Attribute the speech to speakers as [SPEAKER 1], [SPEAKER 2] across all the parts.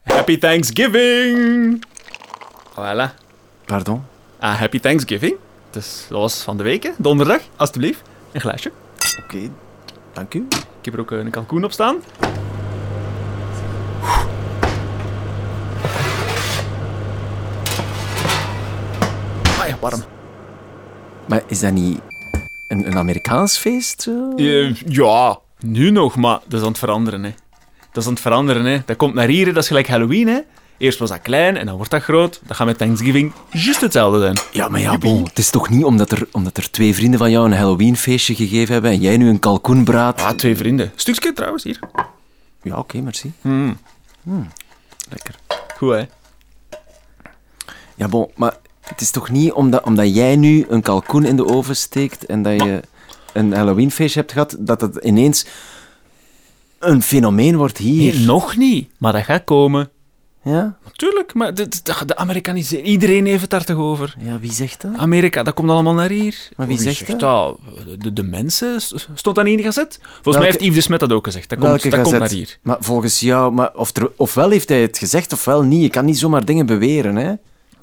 [SPEAKER 1] Happy Thanksgiving! Voilà.
[SPEAKER 2] Pardon?
[SPEAKER 1] Ah, happy Thanksgiving. Dus dat was van de week, hè? donderdag. Alsjeblieft, een glaasje.
[SPEAKER 2] Oké, dank u.
[SPEAKER 1] Ik heb er ook eh, een kalkoen op staan. Ah ja, warm.
[SPEAKER 2] Maar is dat niet een, een Amerikaans feest? eh?
[SPEAKER 1] Eh, ja, nu nog, maar dat is aan het veranderen, hè. Dat is aan het veranderen, hè. Dat komt naar hier, hè. dat is gelijk Halloween, hè. Eerst was dat klein en dan wordt dat groot. Dan gaat met Thanksgiving juist hetzelfde zijn.
[SPEAKER 2] Ja, maar ja, bon. Het is toch niet omdat er, omdat er twee vrienden van jou een Halloweenfeestje gegeven hebben en jij nu een kalkoen braadt?
[SPEAKER 1] Ah, twee vrienden. Stukje trouwens, hier.
[SPEAKER 2] Ja, oké, merci.
[SPEAKER 1] Lekker. Goed, hè.
[SPEAKER 2] Ja, bon, maar het is toch niet omdat, omdat jij nu een kalkoen in de oven steekt en dat je een Halloweenfeestje hebt gehad, dat het ineens een fenomeen wordt hier?
[SPEAKER 1] Hier nog niet, maar dat gaat komen.
[SPEAKER 2] Ja?
[SPEAKER 1] Natuurlijk, maar de, de, de Amerikanisering... Iedereen heeft het daar toch over?
[SPEAKER 2] Ja, wie zegt dat?
[SPEAKER 1] Amerika, dat komt allemaal naar hier.
[SPEAKER 2] Maar wie zegt
[SPEAKER 1] dat? De, de mensen? S- Stond dat niet in de gazet? Volgens mij
[SPEAKER 2] Welke-
[SPEAKER 1] heeft Yves de Smet dat ook gezegd. Dat komt,
[SPEAKER 2] Welke
[SPEAKER 1] dat komt
[SPEAKER 2] gazet?
[SPEAKER 1] naar hier.
[SPEAKER 2] Maar volgens jou, maar of er- ofwel heeft hij het gezegd ofwel niet. Je kan niet zomaar dingen beweren, hè?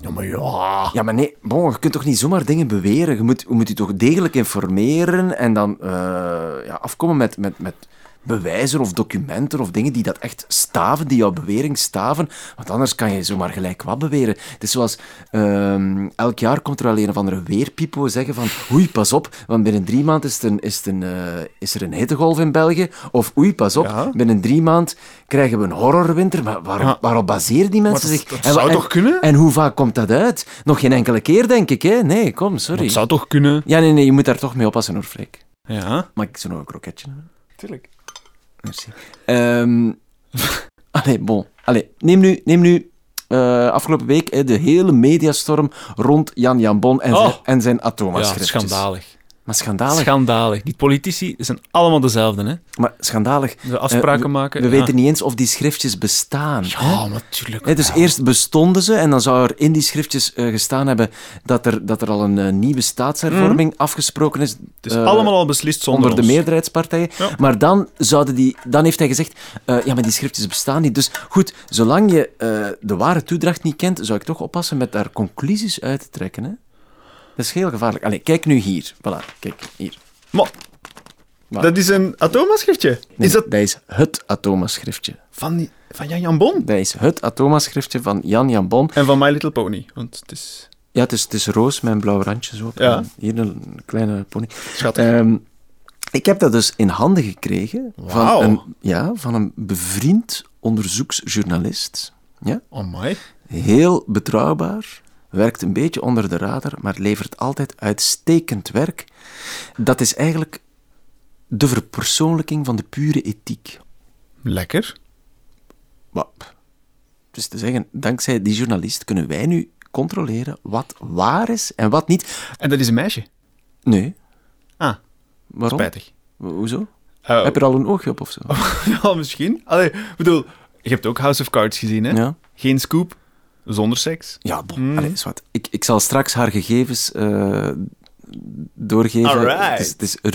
[SPEAKER 1] Ja, maar ja...
[SPEAKER 2] Ja, maar nee, bon, je kunt toch niet zomaar dingen beweren? Je moet je, moet je toch degelijk informeren en dan eh, ja, afkomen met, met, met bewijzen of documenten of dingen die dat echt staven, die jouw bewering staven. Want anders kan je zomaar gelijk wat beweren. Het is zoals ehm, elk jaar komt er al een of andere weerpipo zeggen van oei, pas op, want binnen drie maanden is, het een, is, het een, eh, is er een hittegolf in België. Of oei, pas op,
[SPEAKER 1] Ja.
[SPEAKER 2] binnen drie maanden krijgen we een horrorwinter. Maar waar,
[SPEAKER 1] Ja.
[SPEAKER 2] waarop baseren die mensen
[SPEAKER 1] Maar dat-
[SPEAKER 2] zich?
[SPEAKER 1] dat
[SPEAKER 2] En wa-
[SPEAKER 1] zou
[SPEAKER 2] en-
[SPEAKER 1] toch kunnen?
[SPEAKER 2] en hoe vaak komt dat uit? Nog geen enkele keer, denk ik, hè? Nee, kom, sorry.
[SPEAKER 1] Dat zou toch kunnen?
[SPEAKER 2] Ja, nee, nee, je moet daar toch mee oppassen hoor, Freek.
[SPEAKER 1] Ja.
[SPEAKER 2] Mag ik zo nog een kroketje hebben?
[SPEAKER 1] Tuurlijk.
[SPEAKER 2] Merci. Ehm Allee, bon. Allee, neem nu, neem nu eh, afgelopen week hè, de hele mediastorm rond Jan Jambon en,
[SPEAKER 1] Oh.
[SPEAKER 2] zijn, en zijn atoma
[SPEAKER 1] Ja, schandalig.
[SPEAKER 2] Maar schandalig.
[SPEAKER 1] Schandalig. Die politici zijn allemaal dezelfde, hè.
[SPEAKER 2] maar schandalig.
[SPEAKER 1] Ze afspraken
[SPEAKER 2] Eh, we-
[SPEAKER 1] maken.
[SPEAKER 2] We
[SPEAKER 1] ja.
[SPEAKER 2] weten niet eens of die schriftjes bestaan. hè?
[SPEAKER 1] Ja, natuurlijk.
[SPEAKER 2] Hè, dus eerst bestonden ze en dan zou er in die schriftjes eh, gestaan hebben dat er, dat er al een eh, nieuwe staatshervorming afgesproken is.
[SPEAKER 1] Mhm. Het is
[SPEAKER 2] eh,
[SPEAKER 1] allemaal al beslist zonder
[SPEAKER 2] onder de
[SPEAKER 1] ons.
[SPEAKER 2] meerderheidspartijen.
[SPEAKER 1] Ja.
[SPEAKER 2] Maar dan, zouden die, dan heeft hij gezegd, eh, ja, maar die schriftjes bestaan niet. Dus goed, zolang je eh, de ware toedracht niet kent, zou ik toch oppassen met daar conclusies uit te trekken. Hè? Dat is heel gevaarlijk. Allee, kijk nu hier. Voilà, kijk hier.
[SPEAKER 1] Maar,
[SPEAKER 2] Maar-
[SPEAKER 1] dat is een atoomaschriftje.
[SPEAKER 2] Nee,
[SPEAKER 1] is dat
[SPEAKER 2] dat is het atoma-schriftje.
[SPEAKER 1] van, die- van Jan Jan Bon?
[SPEAKER 2] Dat is het atoma-schriftje van Jan Jan Bon.
[SPEAKER 1] En van My Little Pony. Want het is
[SPEAKER 2] Ja, het is, het is roos met een blauw randje zo. op.
[SPEAKER 1] Ja.
[SPEAKER 2] En Hier een kleine pony.
[SPEAKER 1] schattig.
[SPEAKER 2] Ehm, ik heb dat dus in handen gekregen
[SPEAKER 1] Wauw.
[SPEAKER 2] van, een, ja, van een bevriend onderzoeksjournalist. Ja?
[SPEAKER 1] oh my.
[SPEAKER 2] Heel betrouwbaar, werkt een beetje onder de radar, maar levert altijd uitstekend werk. Dat is eigenlijk de verpersoonlijking van de pure ethiek.
[SPEAKER 1] Lekker.
[SPEAKER 2] Wat? Dus te zeggen, dankzij die journalist kunnen wij nu controleren wat waar is en wat niet.
[SPEAKER 1] En dat is een meisje.
[SPEAKER 2] Nee,
[SPEAKER 1] Ah,
[SPEAKER 2] waarom?
[SPEAKER 1] spijtig.
[SPEAKER 2] Ho- Hoezo?
[SPEAKER 1] Oh.
[SPEAKER 2] Heb je er al een oogje op of zo?
[SPEAKER 1] ja, misschien. Allee, ik bedoel, je hebt ook House of Cards gezien, hè?
[SPEAKER 2] Ja.
[SPEAKER 1] Geen scoop, zonder seks.
[SPEAKER 2] Ja, bon.
[SPEAKER 1] Hmm.
[SPEAKER 2] Allee, is wat. Ik, ik zal straks haar gegevens eh, doorgeven.
[SPEAKER 1] Alright.
[SPEAKER 2] Het is, het is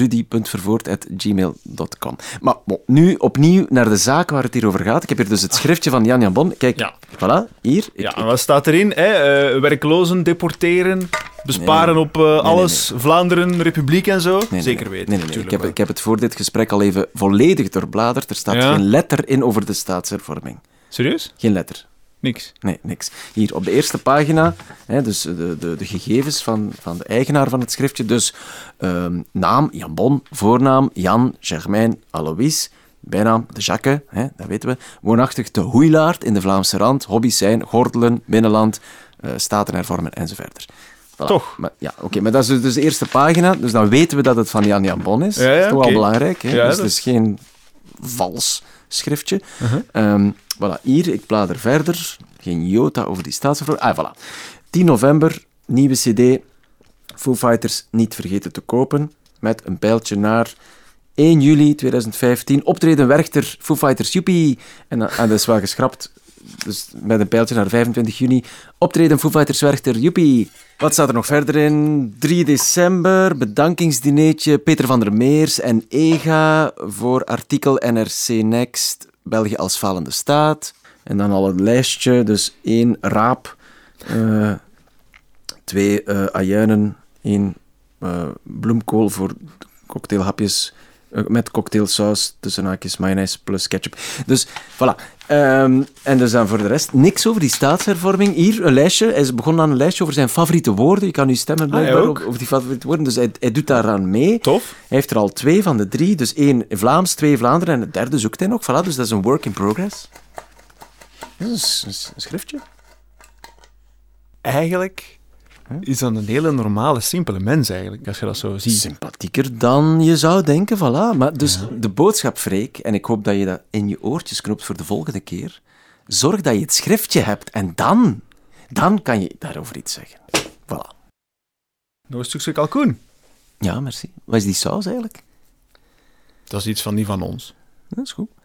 [SPEAKER 2] rudy.vervoort.gmail.com. Maar bon, nu opnieuw naar de zaak waar het hier over gaat. Ik heb hier dus het schriftje van Jan Jan Bon. Kijk,
[SPEAKER 1] Ah. Ja.
[SPEAKER 2] voilà, hier. Ik,
[SPEAKER 1] ja, en wat staat erin? Hè? Eh, werklozen, deporteren, besparen op eh, alles, Vlaanderen, republiek en zo.
[SPEAKER 2] Nee, nee,
[SPEAKER 1] Zeker
[SPEAKER 2] nee.
[SPEAKER 1] weten.
[SPEAKER 2] Nee, nee, nee. Ik,
[SPEAKER 1] tuurlijk
[SPEAKER 2] heb,
[SPEAKER 1] wel.
[SPEAKER 2] ik heb het voor dit gesprek al even volledig doorbladerd. Er staat
[SPEAKER 1] Ja?
[SPEAKER 2] geen letter in over de staatshervorming.
[SPEAKER 1] Serieus?
[SPEAKER 2] Geen letter.
[SPEAKER 1] Niks.
[SPEAKER 2] Nee, niks. Hier op de eerste pagina, hè, dus de, de, de gegevens van, van de eigenaar van het schriftje. Dus ehm, naam, Jan Bon, voornaam, Jan, Germain, Alois, bijnaam, de Jacques, hè, dat weten we. Woonachtig, de Hoeilaard in de Vlaamse Rand. Hobby's zijn gordelen, binnenland, eh, staten hervormen enzovoort. Voilà.
[SPEAKER 1] Toch?
[SPEAKER 2] Maar, ja, oké, maar dat is dus- dus de eerste pagina, dus dan weten we dat het van Jan Jan Bon is.
[SPEAKER 1] Ja, ja,
[SPEAKER 2] dat is toch
[SPEAKER 1] oké.
[SPEAKER 2] wel belangrijk, hè?
[SPEAKER 1] Ja,
[SPEAKER 2] dus
[SPEAKER 1] dat- Uh-huh.
[SPEAKER 2] het is geen vals schriftje. Ehm, voilà, hier, ik blader verder. Geen jota over die staatsvervoer. Ah, voilà. 10 november, nieuwe cd. Foo Fighters niet vergeten te kopen. Met een pijltje naar 1 juli 2015. Optreden Werchter, Foo Fighters, joepie. En dan- ah, dat is wel geschrapt. Dus met een pijltje naar 25 juni. Optreden Foo Fighters, Werchter, joepie. Wat staat er nog verder in? 3 december, bedankingsdineetje Peter van der Meers en EGA voor artikel NRC Next, België als falende staat. En dan al het lijstje, dus één raap, eh, twee eh ajuinen, één eh, bloemkool voor cocktailhapjes eh, met cocktailsaus, tussen haakjes mayonaise plus ketchup. Dus voilà. Ehm, en dus dan voor de rest niks over die staatshervorming. Hier een lijstje. Hij is begonnen aan een lijstje over zijn favoriete woorden. Je kan nu stemmen
[SPEAKER 1] Ah, hij
[SPEAKER 2] blijkbaar
[SPEAKER 1] ook?
[SPEAKER 2] over- over die favoriete woorden. Dus hij, hij doet daaraan mee.
[SPEAKER 1] Tof.
[SPEAKER 2] Hij heeft er al twee van de drie. Dus één Vlaams, twee Vlaanderen en het derde zoekt hij nog. Voilà, dus dat is een work in progress. Dat is een, een schriftje.
[SPEAKER 1] Eigenlijk is dat een hele normale, simpele mens eigenlijk, als je dat zo ziet.
[SPEAKER 2] Sympathieker dan je zou denken, voilà. Maar dus de boodschap, Freek, en ik hoop dat je dat in je oortjes knopt voor de volgende keer. Zorg dat je het schriftje hebt en dan, dan kan je daarover iets zeggen. Voilà.
[SPEAKER 1] Nog een stukje kalkoen.
[SPEAKER 2] Ja, merci. Wat is die saus eigenlijk?
[SPEAKER 1] Dat is iets van die van ons.
[SPEAKER 2] Dat is goed.